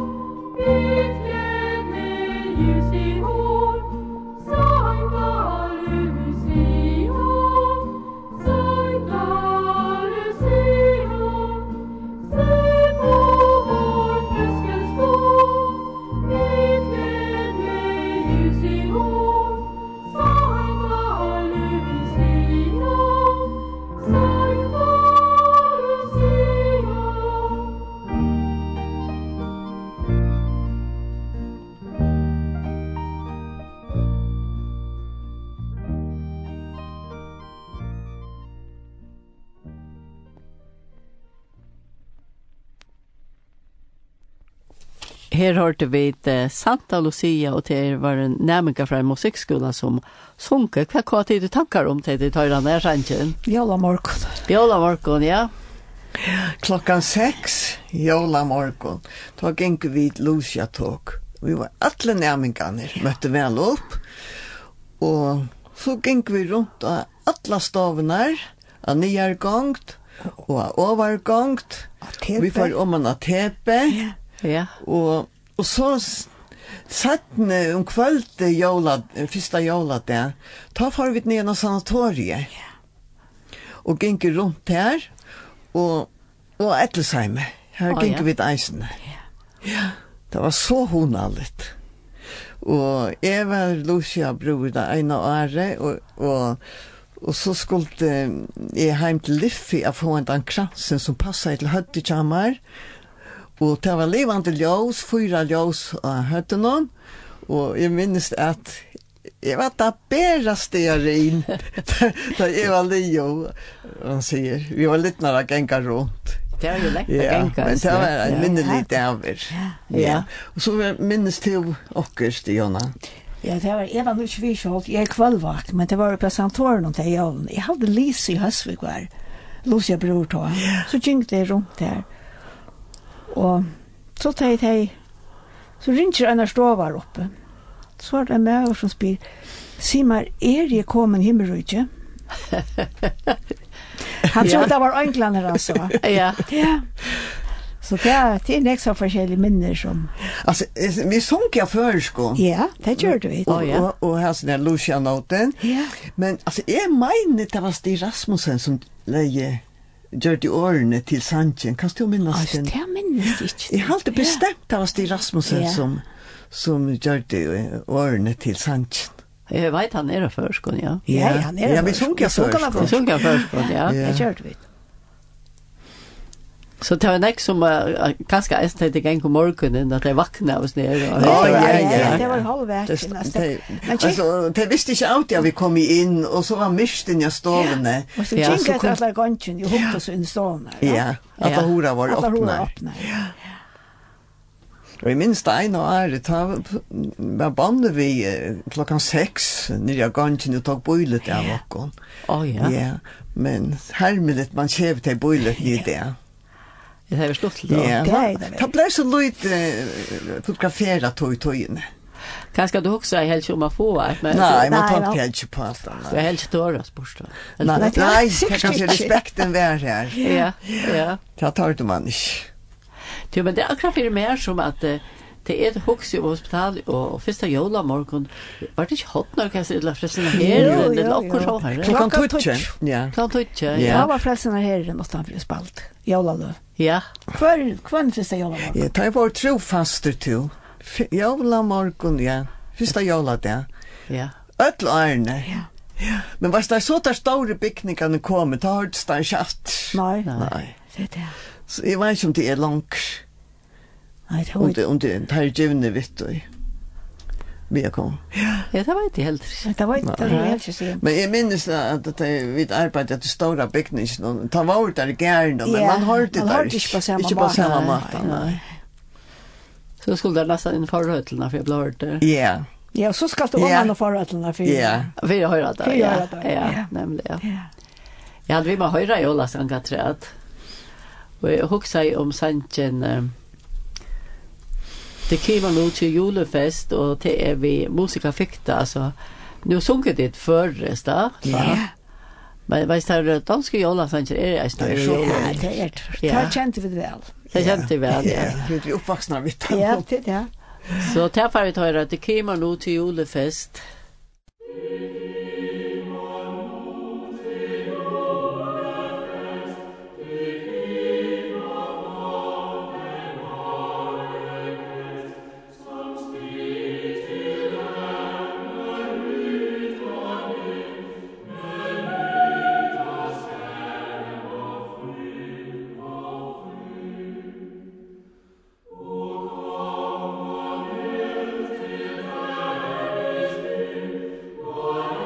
S4: utklädd med ljus i hår. Sankta Lucia, Sankta Lucia, se på vår tröskels vår, utklädd med ljus i hår. Sankta Lucia, Sankta Lucia.
S1: Her hørte vi eh, Santa Lucia, og det var en nærmengar fra en musikkskola som sunke. Hva hva tid du tankar om til Er de tøyrene her, Sanchen?
S3: Jævla morgen.
S1: Bjola Morgon, ja.
S2: klockan 6 jola morgon tog en vid Lucia tog vi var alla närmingarna mötte väl upp och så gick vi runt av alla stavnar av nyargångt och av övergångt vi får om en tepe
S1: Ja,
S2: och, och så um s- satt ni om kvällte jola, första jola där ta får vi ner i sanatoriet og gikk rundt her, og, og Ettelsheim. Her
S1: Å,
S2: gikk
S1: ja.
S2: vi til eisen. Det var så honalligt. Og jeg var Lucia bror det ene året, og, og, og så skulle jeg hjem til Liffi og få en den kransen som passet til høttekamer. Og det var levende ljøs, fyra ljøs av høttene. Og jeg minnes at jeg var det bæreste jeg rin. da jeg var leo, han sier. Vi var litt når jeg ganger rundt.
S1: Det er jo lekt å
S2: Ja,
S1: genka.
S2: men det var en
S1: ja.
S2: minnelig dæver.
S1: Ja.
S2: Ja. Og så var- minnes til okkerst, Jonna.
S3: Ja, det var, jeg var nu ikke virkjølt, jeg er kvallvakt, men det var jo på Santoren og til jævlen. Jeg hadde Lise i Høsvig var, Lucia bror ta. Så gyngte jeg rundt der. Og så teg teg, så ringer en av stovar oppe. Så er det en med som spyr, si meg, er jeg kommet himmelrydje? Han trodde det var englander han sa.
S1: Ja,
S3: Ja. Så det er, det er nekst av forskjellige minner som,
S2: Altså, eh, vi sunk jeg før, sko.
S3: ja, det gjør du vidt.
S1: Å, ja.
S2: Og, og her sånn der Lucia-noten.
S3: Ja.
S2: Men altså, jeg mener det var Stig Rasmussen som leie gjør de årene til Sanchin. Kan du minnes
S3: Altså,
S2: den?
S3: det minnes jeg ikke.
S2: Jeg har alltid
S3: Ja.
S2: bestemt det var Stig Rasmussen
S3: Ja.
S2: som, som gjør de eh, årene til Sanchin.
S1: jeg vet han er av førskolen, ja.
S3: Ja, ja, han er
S2: Ja,
S3: av
S2: vi
S3: førskolen.
S2: sunk jeg
S3: Vi sunk
S2: før,
S3: han av
S2: sko.
S1: Han sunk av førskolen, ja.
S2: Ja.
S3: Jeg kjørte vidt.
S1: Så det var nek som uh, kanskje jeg stedet gang um om morgenen, at jeg vakna av oss nere. og-
S2: Ja, ja, ja, ja.
S3: Det var halvverk nesten.
S2: Det,
S3: Men kikk,
S2: altså, det visste ikke alltid at vi kom inn, og så var mysten i stovene.
S3: og så
S1: Ja,
S3: kikk
S1: så
S3: etter alle gangen, jo hundt oss under stående.
S2: Ja, at
S1: Ja.
S2: ja. hora var
S3: Alle hore
S2: åpnar.
S3: åpner.
S2: Og i minst ein og ære, ta var bandet vi eh, klokkan seks, nyrja gangen og tok bøylet av okkon.
S1: Å ja,
S2: Ja, men hermelit man kjev til bøylet i det.
S1: det er jo slutt til det.
S2: Ja,
S3: det er det vel.
S2: ta blei så løyt eh, fotografera tog i tøyene.
S1: Kanskje du også er helt om å få et, men
S2: Nei, man
S3: Nei,
S2: tar
S3: vel.
S2: ikke helt på alt
S1: du er
S2: annet.
S1: helt ikke tåret å spørre.
S2: Nei,
S3: Nei, det er
S2: nei, det
S3: sikkert
S2: er kanskje
S3: ikke.
S2: respekten vær her.
S1: Ja, ja.
S2: Det tar du man ikke.
S1: Jo, men det er akkurat fyrir mer som at eh, det er et hoks i hospital, og første jola morgen, var det ikke hodnorkast, eller fresten av
S3: Jo,
S1: herren,
S3: jo,
S1: eller okkur så
S3: jo.
S1: her?
S3: Klokka
S2: Klokkan tutsi.
S3: tutsi.
S2: Ja.
S1: Klant ikke,
S2: Ja.
S1: ja.
S3: Da var frelsene her i Nåttanfri spalt. Jolaløv.
S1: Ja,
S3: Hver hver første jolaløv.
S2: Ja, ta var trofaster til. Jola morgon, ja. Fyrsta jola det.
S1: ja.
S2: Öll ærne.
S3: Ja.
S2: Men var det så der store bygningene kom, da har det ikke hatt.
S3: Nei,
S1: Nei.
S2: Nei.
S3: det er det.
S2: Så jeg vet ikke om det er langt,
S3: Nei, det
S2: om
S3: var
S2: det, om det er her givne vitt og vi er kom.
S1: Ja, det var ikke helt riktig.
S3: Det var ikke, det var helt ikke sånn.
S2: Men jeg minnes da at det, vi arbeidet er- til store bygninger, ta var der i gærne, men
S3: Ja,
S2: man har det
S3: man
S2: der
S3: hørte ikke på samme
S2: Ikke på
S3: måte.
S2: samme
S3: Nei,
S2: måte,
S3: nei.
S2: nei.
S1: Så skulle det nesten inn for høytlene, for jeg ble hørt det.
S2: Ja,
S3: Ja, og så skal du
S2: Ja.
S3: om og forrettene for.
S2: ja.
S1: For jeg hører det,
S3: For jeg
S1: ja.
S3: hører det, ja.
S1: Ja, nemlig, ja.
S3: Ja.
S1: Ja, vi må høyre jola sanga træt. Og jeg hugsa om sangen eh, Det kommer nå til julefest, og det er vi musika fikta, altså. Nå sunket det førres da.
S2: Ja.
S1: Men veist her, danske jola sanger er jeg
S2: Det
S1: snart
S2: er så-
S1: jola.
S3: Ja, det er det.
S1: Ja.
S3: Det kjente vi det vel.
S1: Det kjente vi vel, ja.
S2: Ja, vi er oppvaksna vitt.
S3: Ja, det er det.
S1: Så det er ferdig å høre, det kommer nå til julefest.
S4: Amen.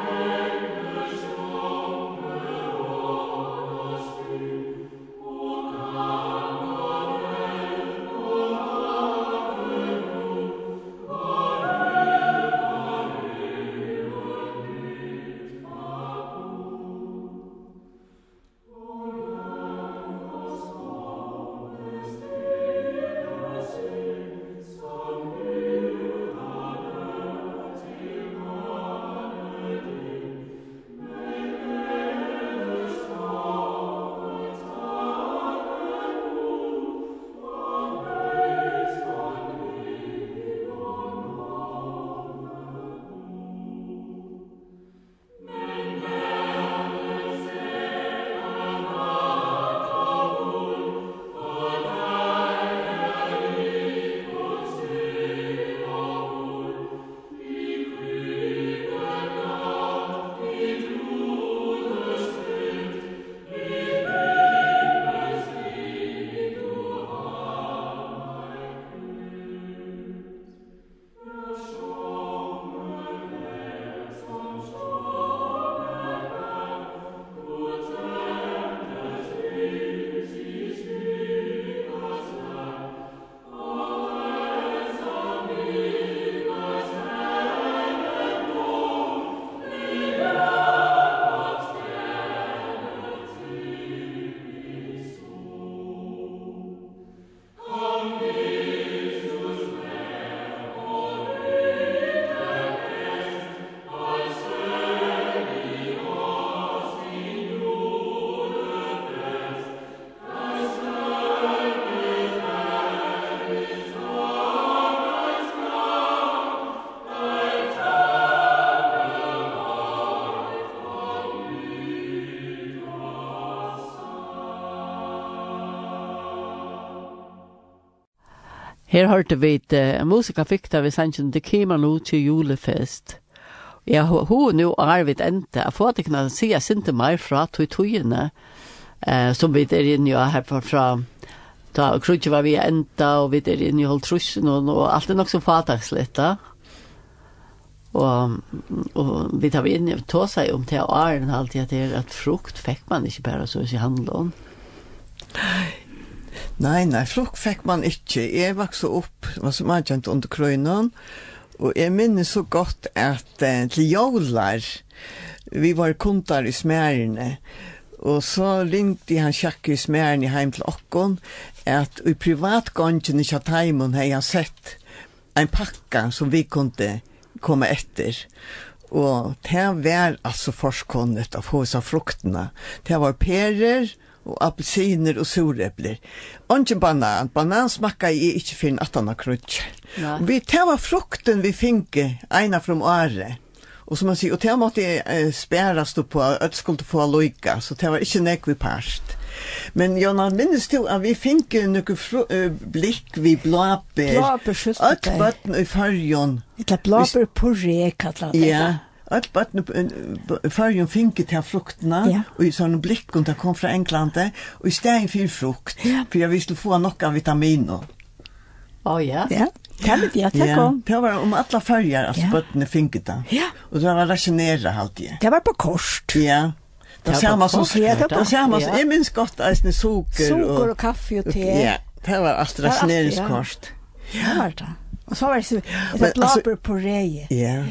S1: Her hørte vi et uh, musikafikta vi sannsyn, det kommer nå til julefest. Ja, hun nå er vi enda, jeg får ikke noe si, jeg synte meg fra tog togene, eh, som vi er inne i her fra, fra da krutje var vi enda, og vi er inne i holdt trusen, og, og alt er nok så fatagslitt da. Og, og vi tar vi inn og tog seg om til åren alltid at det er at frukt fikk man ikke bare så i handelen.
S2: Nei, nei, frukt fikk man ikke. Jeg vokste opp, var som er kjent under krøynen, og jeg minnes så godt at eh, til jævlar, vi var kontar i smærene, og så ringte han sjakk i smærene hjem til okken, at i privatgåndene i Kjataimen har jeg sett en pakka som vi kunne komme etter. Og det var altså forskunnet av hos av fruktene. Det var perer, og appelsiner og surepler. Onge banan, banan smakka i ikkje finn atana krutsk.
S1: Nei.
S2: Vi teva frukten vi finke, eina from året. Og som man sier, og det måtte jeg eh, spæres du på, at skulle få loika, så det var ikke nek vi parst. Men Jonna, minnes du at vi finke noen fru, eh, blikk vi blåper?
S3: Bláber, skjønner
S2: Alt
S3: det.
S2: bøtten i fargen.
S3: Illa blåbær puré kallar det.
S2: Ja. Alt bøtten i fargen finke til fruktene,
S3: Ja.
S2: og i sånne blikken der kom fra Englandet, og i stedet for frukt, for jeg visste få nok av vitaminer.
S1: Å ja.
S3: Ja. Kan det ja, det kom.
S2: det var um om alla färger, alltså
S3: Ja.
S2: bötterna finket det.
S3: Ja.
S2: Och det var rationera allt det.
S3: Det var på kost.
S2: Ja. Det
S1: var
S2: samma som
S1: konstigt,
S2: det
S1: ja.
S2: var samma som
S1: Ja.
S2: jag minns gott alltså socker
S3: Sukker og kaffe og te.
S2: Ja, det var alltså
S3: var allt, ja.
S2: rationeringskost.
S3: Det var det. Og så var det så
S2: Men,
S3: et
S2: altså-
S3: blåbær puré.
S2: Ja.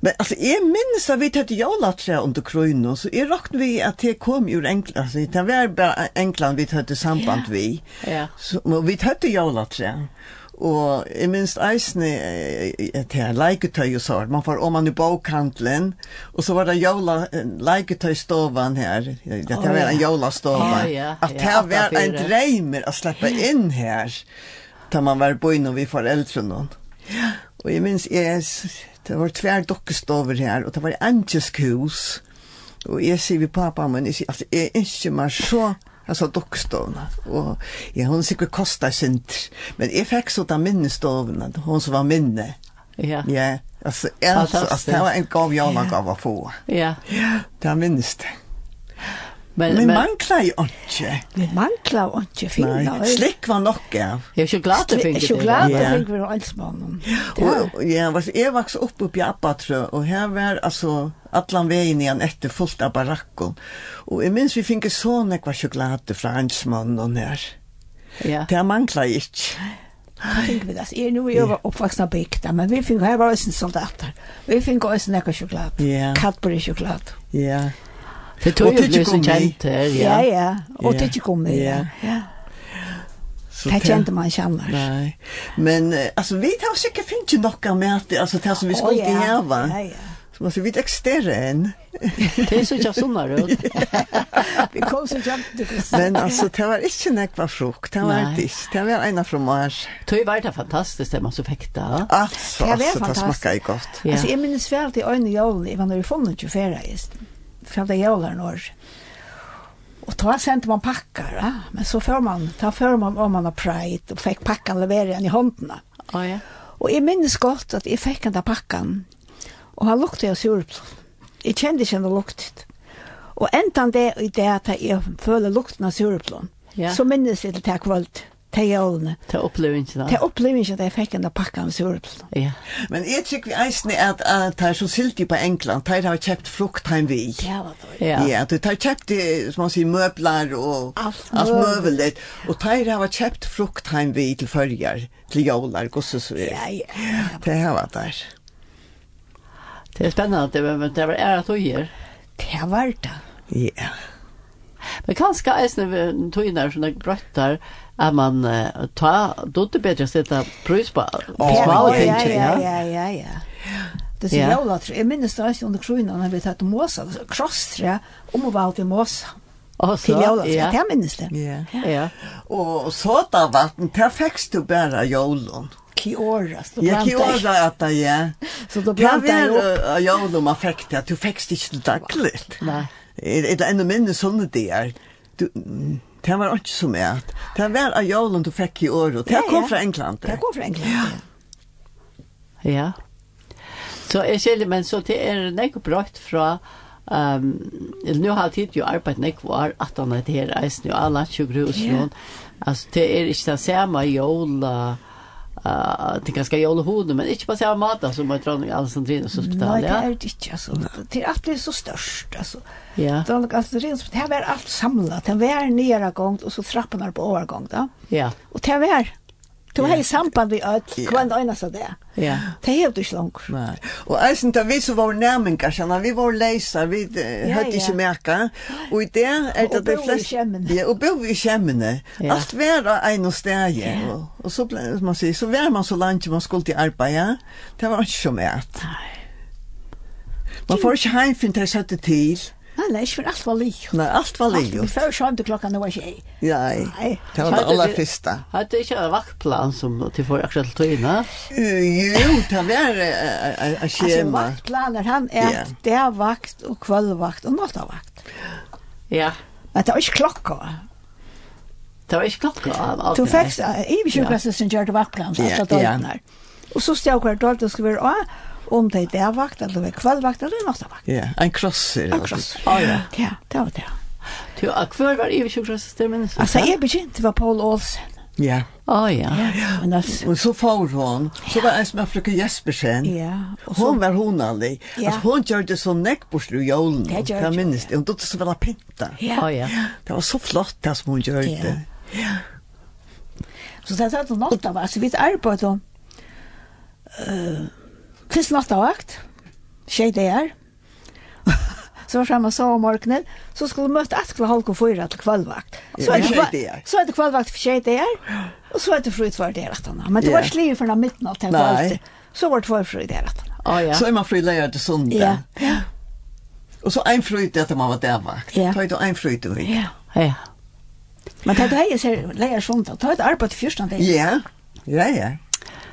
S2: Men alltså jag minns att vi tänkte jolatträ under kröjnen så jag räknade vi att det kom ur England. Alltså det var bara England vi tänkte samband
S3: Ja.
S2: vi.
S1: Ja.
S2: Så, men vi tøtte jævlatræ. Og jeg minst eisne eh, til leiketøy og sånt. Man får om man i bokhandlen. Og så var det eh, jævla leiketøystovan her. Dette
S3: Å,
S2: var en
S3: ja.
S2: jævlastovan.
S1: Å, Ah, ja,
S2: At
S1: ja,
S2: det var
S1: utanför.
S2: en dreimer å slippe inn her. Da man var på innom vi foreldre noen. Og jeg minns, jeg, det var tvær dokkestover her, og det var Anges hus. Og jeg sier vi pappa, men jeg sier, altså, jeg ønsker meg så, altså dokkstovene. Og ja, hun sikkert kostet sint. Men jeg fikk så da minnestovene, hun som var minne.
S1: Ja. Ja.
S2: Ja, altså, jeg, altså,
S1: Fantastisk.
S2: altså, det var en gav jeg nok av å få.
S1: ja.
S2: Det er minnes det.
S1: Men,
S2: Men
S1: men,
S2: mangler jeg ikke.
S3: Vi mangla og ikke finna.
S2: Nei, slik var nok av.
S1: jeg er ikke glad til å finne det.
S3: Sjokolade
S2: Ja.
S3: fikk vi av eldsmannen.
S2: Og, og ja, altså, jeg vokste opp oppe i Abbatrø, og her var altså allan veien igjen etter fullt av barakken. Og jeg minns vi finke så nekva sjokolade fra hansmannen og nær.
S1: Ja.
S2: Det mangler jeg ikke.
S3: Det fikk vi det. Jeg er nå i over oppvaksna bygda, men vi fikk her var også soldater. Vi fikk også nekka sjokolade.
S2: Ja.
S3: Cadbury sjokolade.
S2: Ja.
S1: Det tog
S2: Og
S1: jo
S2: tycker
S1: blir så
S2: om mig.
S1: kjent her, ja.
S3: Ja, ja. Og
S2: Ja.
S3: det ikke kom med. Ja.
S2: Ja.
S3: ja.
S2: Så
S3: Det kjente man ikke annars.
S2: Nei. Men eh, altså, vi tar sikkert finne noe med det, altså det som vi
S3: Å,
S2: skulle
S3: ja.
S2: gjøre.
S3: Ja, ja.
S2: Som altså, vi eksisterer enn.
S1: Det er så ikke sånn her, ut.
S3: Vi kom så kjent.
S2: Men altså, det var ikke nekva frukt, det var
S1: Nei.
S2: det ikke. Det var en av fra Mars.
S1: Det var det fantastisk det man så fikk da.
S2: Altså,
S3: Det var
S2: altså, det
S3: fantastisk.
S2: smaker jeg godt.
S1: Ja.
S3: Alltså jag minns väl till en jul, jag var när vi fann inte färra just. Fram till julen år. Och ta sent man packar, va? men så får man, ta för man om man har pride och fick packan leverera i händerna.
S1: Å ja.
S3: Och jag minns gott att jag fick den där packan. Och han luktade av surplån. Jag kände inte den luktet. Och ändan det i det att jag följde lukten av surplån.
S1: Ja.
S3: Så minns jag till det här kvällt, till julen.
S1: Til opplevelsen
S3: Till
S1: da.
S3: upplevelsen att jag fick den där packan av surplån.
S1: Ja.
S2: Men jeg tykker vi eisen er at, at det er så siltig på England, det har kjøpt frukt heim vi.
S3: Det var dåligt.
S1: Ja.
S2: Ja, det har kjøpt, eh, som man sier, møbler og
S3: Allt
S2: alt
S3: möjligt.
S2: møvelet. Og det har kjøpt frukt heim vi til følger, til jævlar, gosses og
S3: Ja, ja.
S2: Det har vært der.
S1: Det er spennende, men det var ære tøyer.
S3: Det var det.
S2: Ja.
S1: Men kanskje eisne tøyner sånne grøtter, at man eh, ta, då det bedre å sette prøys på
S2: Ja,
S1: smale
S2: ja,
S1: ting,
S3: ja,
S1: ja.
S3: ja, ja, ja. Det er
S1: Ja.
S3: ser jag att jag minns det också under kronan när vi tatt mosa, krosstra, om och valt i mosa.
S1: Og
S3: Till
S1: så,
S3: jag
S1: ja.
S3: ja. det minns det.
S2: Ja.
S1: Ja.
S2: Og sodavatten, der fikk du bare jålen.
S3: Kiora, så
S2: Jeg kan jo
S3: blandar.
S2: også at det er.
S3: Så då
S2: Det
S3: blandar
S2: var
S3: jag upp.
S2: uh, jålen man fikk det, at du fikk det ikke til daglig.
S1: Nei.
S2: Er er det enda minne sånne det er? Du, mm, Det var ikke som et. Det var av jævlen du fikk i år, og det
S3: Ja, ja.
S2: kom fra England.
S3: Det kom fra England. Ja.
S1: Ja. Så jeg skiljer, men så det er nekk brøtt fra Um, nu har tid jo arbeid nek var at han er det her eisen jo alle sjukhus
S3: Ja.
S1: yeah. altså det er ikke det samme jola uh, det er ganske jola hodet men ikke på samme måte som er dronning Alessandrines
S3: Nei,
S1: hospital
S3: det
S1: ja.
S3: er det ikke, altså. Det er alltid så størst, altså.
S1: ja
S3: Dronning Astrid, det her var alt samlet. Det var nere gångt, og så trappen her på overgångt, da.
S1: ja
S3: Og det var, det var
S2: Ja.
S3: i samband vi ødel,
S2: Ja.
S3: hva enn øyne sa det.
S1: ja
S3: Det er jo ikke langt.
S2: Nei. Og eisen til vi som var nærmengar, kjenner, vi var leisar, vi eh,
S3: Ja,
S2: høyde
S3: ja.
S2: ikke merka. Og i det er det de
S3: Og bo i
S2: flest...
S3: skjemmene.
S2: Ja, og bo i skjemmene.
S1: Ja.
S2: Alt var av en og steg. Og, og så ble, som man sier, så var man så langt man skulle til arbeid. Det var ikke som et. Man får ikke heim fint jeg satte til.
S3: Nei, nei, ikke for alt var lik.
S2: Nei, alt var
S3: Alt, vi
S2: livet.
S3: får jo sånn til klokka nå var ikke jeg.
S2: Nei,
S3: Nei.
S2: det var det
S1: Hørte
S2: aller
S1: du-
S2: første.
S1: Hadde ikke en vaktplan som til for akkurat tøyene?
S2: Eh, Jo, det var eh, en
S3: Altså,
S2: skjema.
S3: vaktplaner, han er
S2: Ja.
S3: det er vakt, og kvøllvakt, og nattavakt.
S1: Ja.
S3: Men det var ikke klokka. eh,
S1: Det var ikke klokka av alt.
S3: Du
S1: det
S3: fikk
S1: der.
S3: Ivi sjukvastesen gjør det vaktplan, så
S2: Ja,
S3: alle
S2: ja.
S3: døgnar. Og så stod hver døgn det skulle være av, om det er dagvakt, eller det er kveldvakt, eller nattavakt.
S2: Ja, en krosser.
S3: En kross.
S1: Ah, ja.
S3: Ja, det var det.
S1: Du, og hver var Ivi sjukkerhetssystemen?
S3: Altså, jeg begynte var Paul Olsen.
S2: Ja.
S1: Å ja.
S3: Men altså,
S2: Og så får hun, så var en som er frøken Jespersen.
S3: ja. Og
S2: Hon
S3: så,
S2: var honanlig.
S3: Ja.
S2: Alltså hon gjorde så näckborst ur jolen.
S3: Det gjorde
S2: Det
S3: hon,
S2: minns det. Hon tog så väl pinta.
S3: ja.
S1: Å ja.
S2: Det var så flott det som hon gjorde.
S3: Så det satt nattavakt, så vi arbeidet om. eh, Fyrst nattavakt, tjej det er. Så var fremme og så om morgenen, så skulle vi møte etter klokken halv og fyra til kveldvakt. Så er det
S2: Ja. Tjej
S3: kva-
S2: det er.
S3: så er det kveldvakt for tjej det er, og så er det frutvar det er at han. Men det
S2: Ja.
S3: var slivet for den midten av
S2: Nei.
S3: det Så var det for frutvar det er at han.
S1: Å ja.
S2: Så är man fri lärare till
S3: Ja,
S2: söndag.
S3: ja,
S2: Och så en fröjd att man var därvakt.
S3: Ja.
S2: Ta då en fröjd i veckan.
S3: ja.
S1: Ja.
S3: Men det er jeg ser, leier sånt, og ta et arbeid til fyrsten det.
S2: Ja. Ja, ja.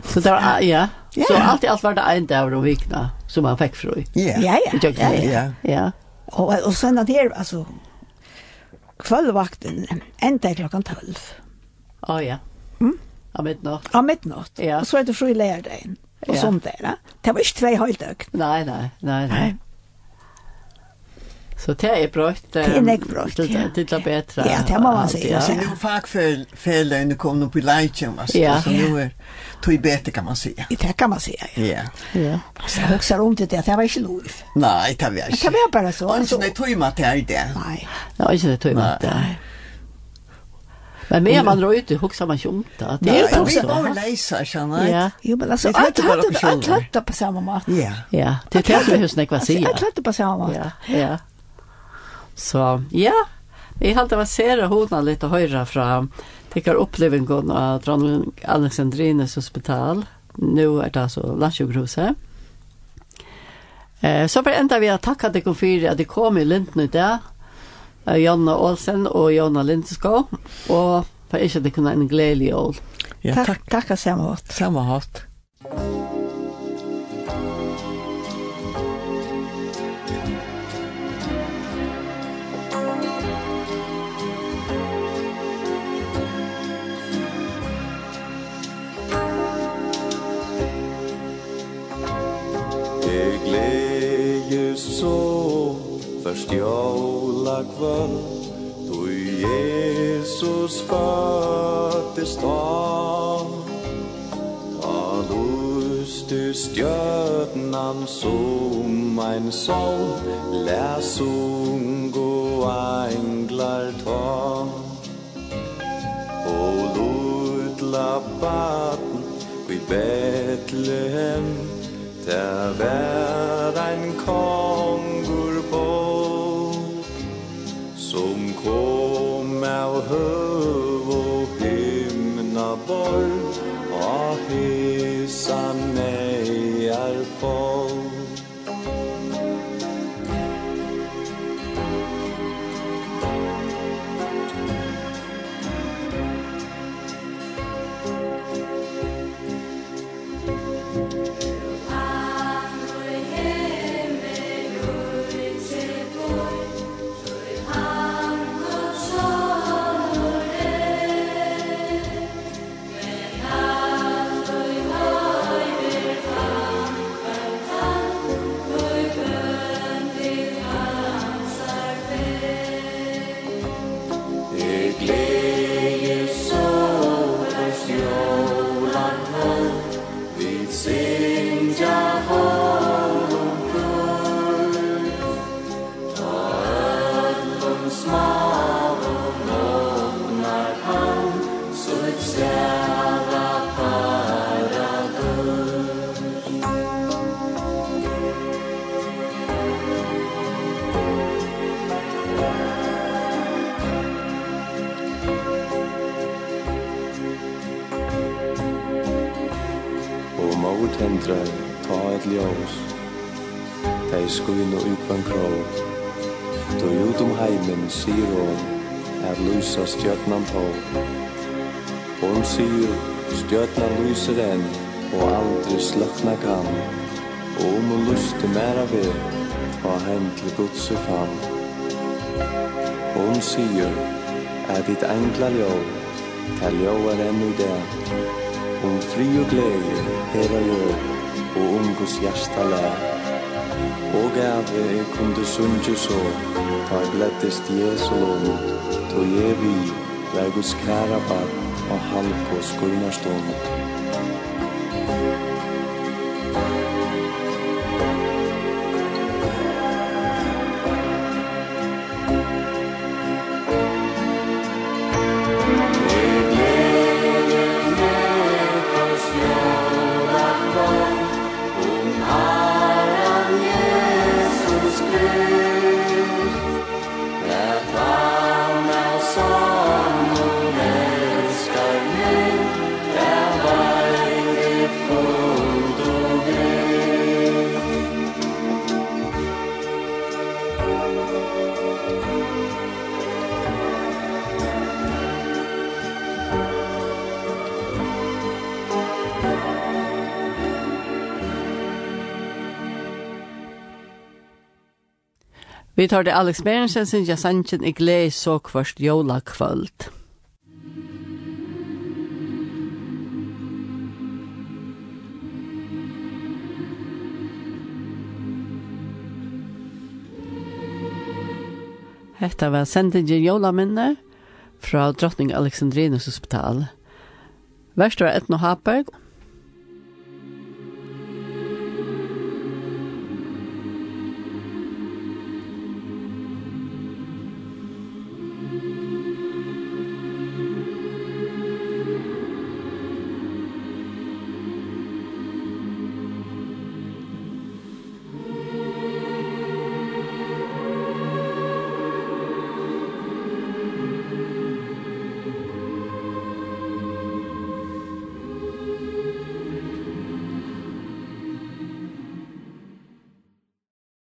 S1: Så det var, ah, ja.
S3: Ja.
S1: Så alt i alt var det en dag om vikna som man fikk frøy.
S2: Ja.
S3: Ja, ja,
S1: Det gjør
S3: ja, ja.
S1: det.
S2: Ja.
S1: Ja.
S3: Og, og sen at her, altså, kvöldvakten enda klokkan 12
S1: Å ja.
S3: Mm.
S1: Av midnatt.
S3: av midnatt.
S1: Ja.
S3: Og så er det fri lærdagen og
S1: Ja.
S3: sånt der. ja. Det var ikke tvei høydøgn.
S1: Nei, nei, nei, nei. Så det er brøtt.
S3: er nekk brøtt, ja.
S1: Det er bedre.
S3: Ja, det må man si,
S1: Ja.
S3: altså.
S2: Så nu fackfällande kom nog på lejtjen.
S1: Ja.
S2: Ja. Så nu är tog bete kan man säga.
S3: Det kan man säga. Ja.
S2: Ja.
S1: Ja.
S3: Så jag huxar om det, det var inte lov.
S2: Nej, det var
S3: Det
S2: inte.
S3: var bara så.
S2: Och
S3: alltså.
S2: så det tog man till det.
S3: Nej.
S1: Det var ikke det tog med det. Men mer man drar ut, husker man ikke om det. Det
S2: Nej,
S1: er jo
S2: vi
S1: også.
S2: var lejsar, känner
S1: Ja.
S3: Jo, men alltså,
S2: Vi tvättar
S3: allt
S2: bara
S3: hade
S2: personer.
S3: allt hade på samma mat.
S2: Ja.
S1: Ja, det er det som husen ikke var sier.
S3: Allt hade på samma mat.
S1: Ja, ja. Så, ja. Jeg halte var sere hodene litt og høyre fra tikkar opplevingen av Dronning Alexandrines hospital. Nå er det altså landsjukhuset. Eh, så bare enda vi har takket dere for at de kom i Linden i dag. Eh, Jonna Olsen och Jonna Lindeskog. Och för ikke at det kunne en gledelig jul.
S2: Ja, tack.
S3: Tack, tack och samma mat.
S2: Samma hatt.
S5: Jeg gledes er så først jævla kvöld Du Jesus fattest av Ta luste stjørnan som ein sol Lær sungo englar ta Og lot la baten vid Betlehem Der vær ein kongur bo Som kom av høv og himna borg Og hesa meier folk
S4: Thank you.
S5: og mór tendrar ta et ljós Tei skuinu i kvann kró Du ut um heimen sier hon Er lysa stjörnan på Hon sier stjörnan lyser enn Og aldri slökna kan Og om hon lyste mera ved Ta hen til Guds og fram Hon sier Er ditt enkla ljó Ter ljó er enn i dag om fri Um og gleie, hera jord, og um om Guds hjärsta lär. Og gave jeg kunde sunge så, ta jeg glettest Jesu lånt, to jeg vi, vær Guds kæra barn, og halk og skulna stånd.
S1: Vi tar det Alex Berensen, Sintja Sanchin, i glede så kvart jola kvöld. Hetta var sendingen Jólaminne fra drottning Alexandrinus hospital. Verst var Etno Haberg,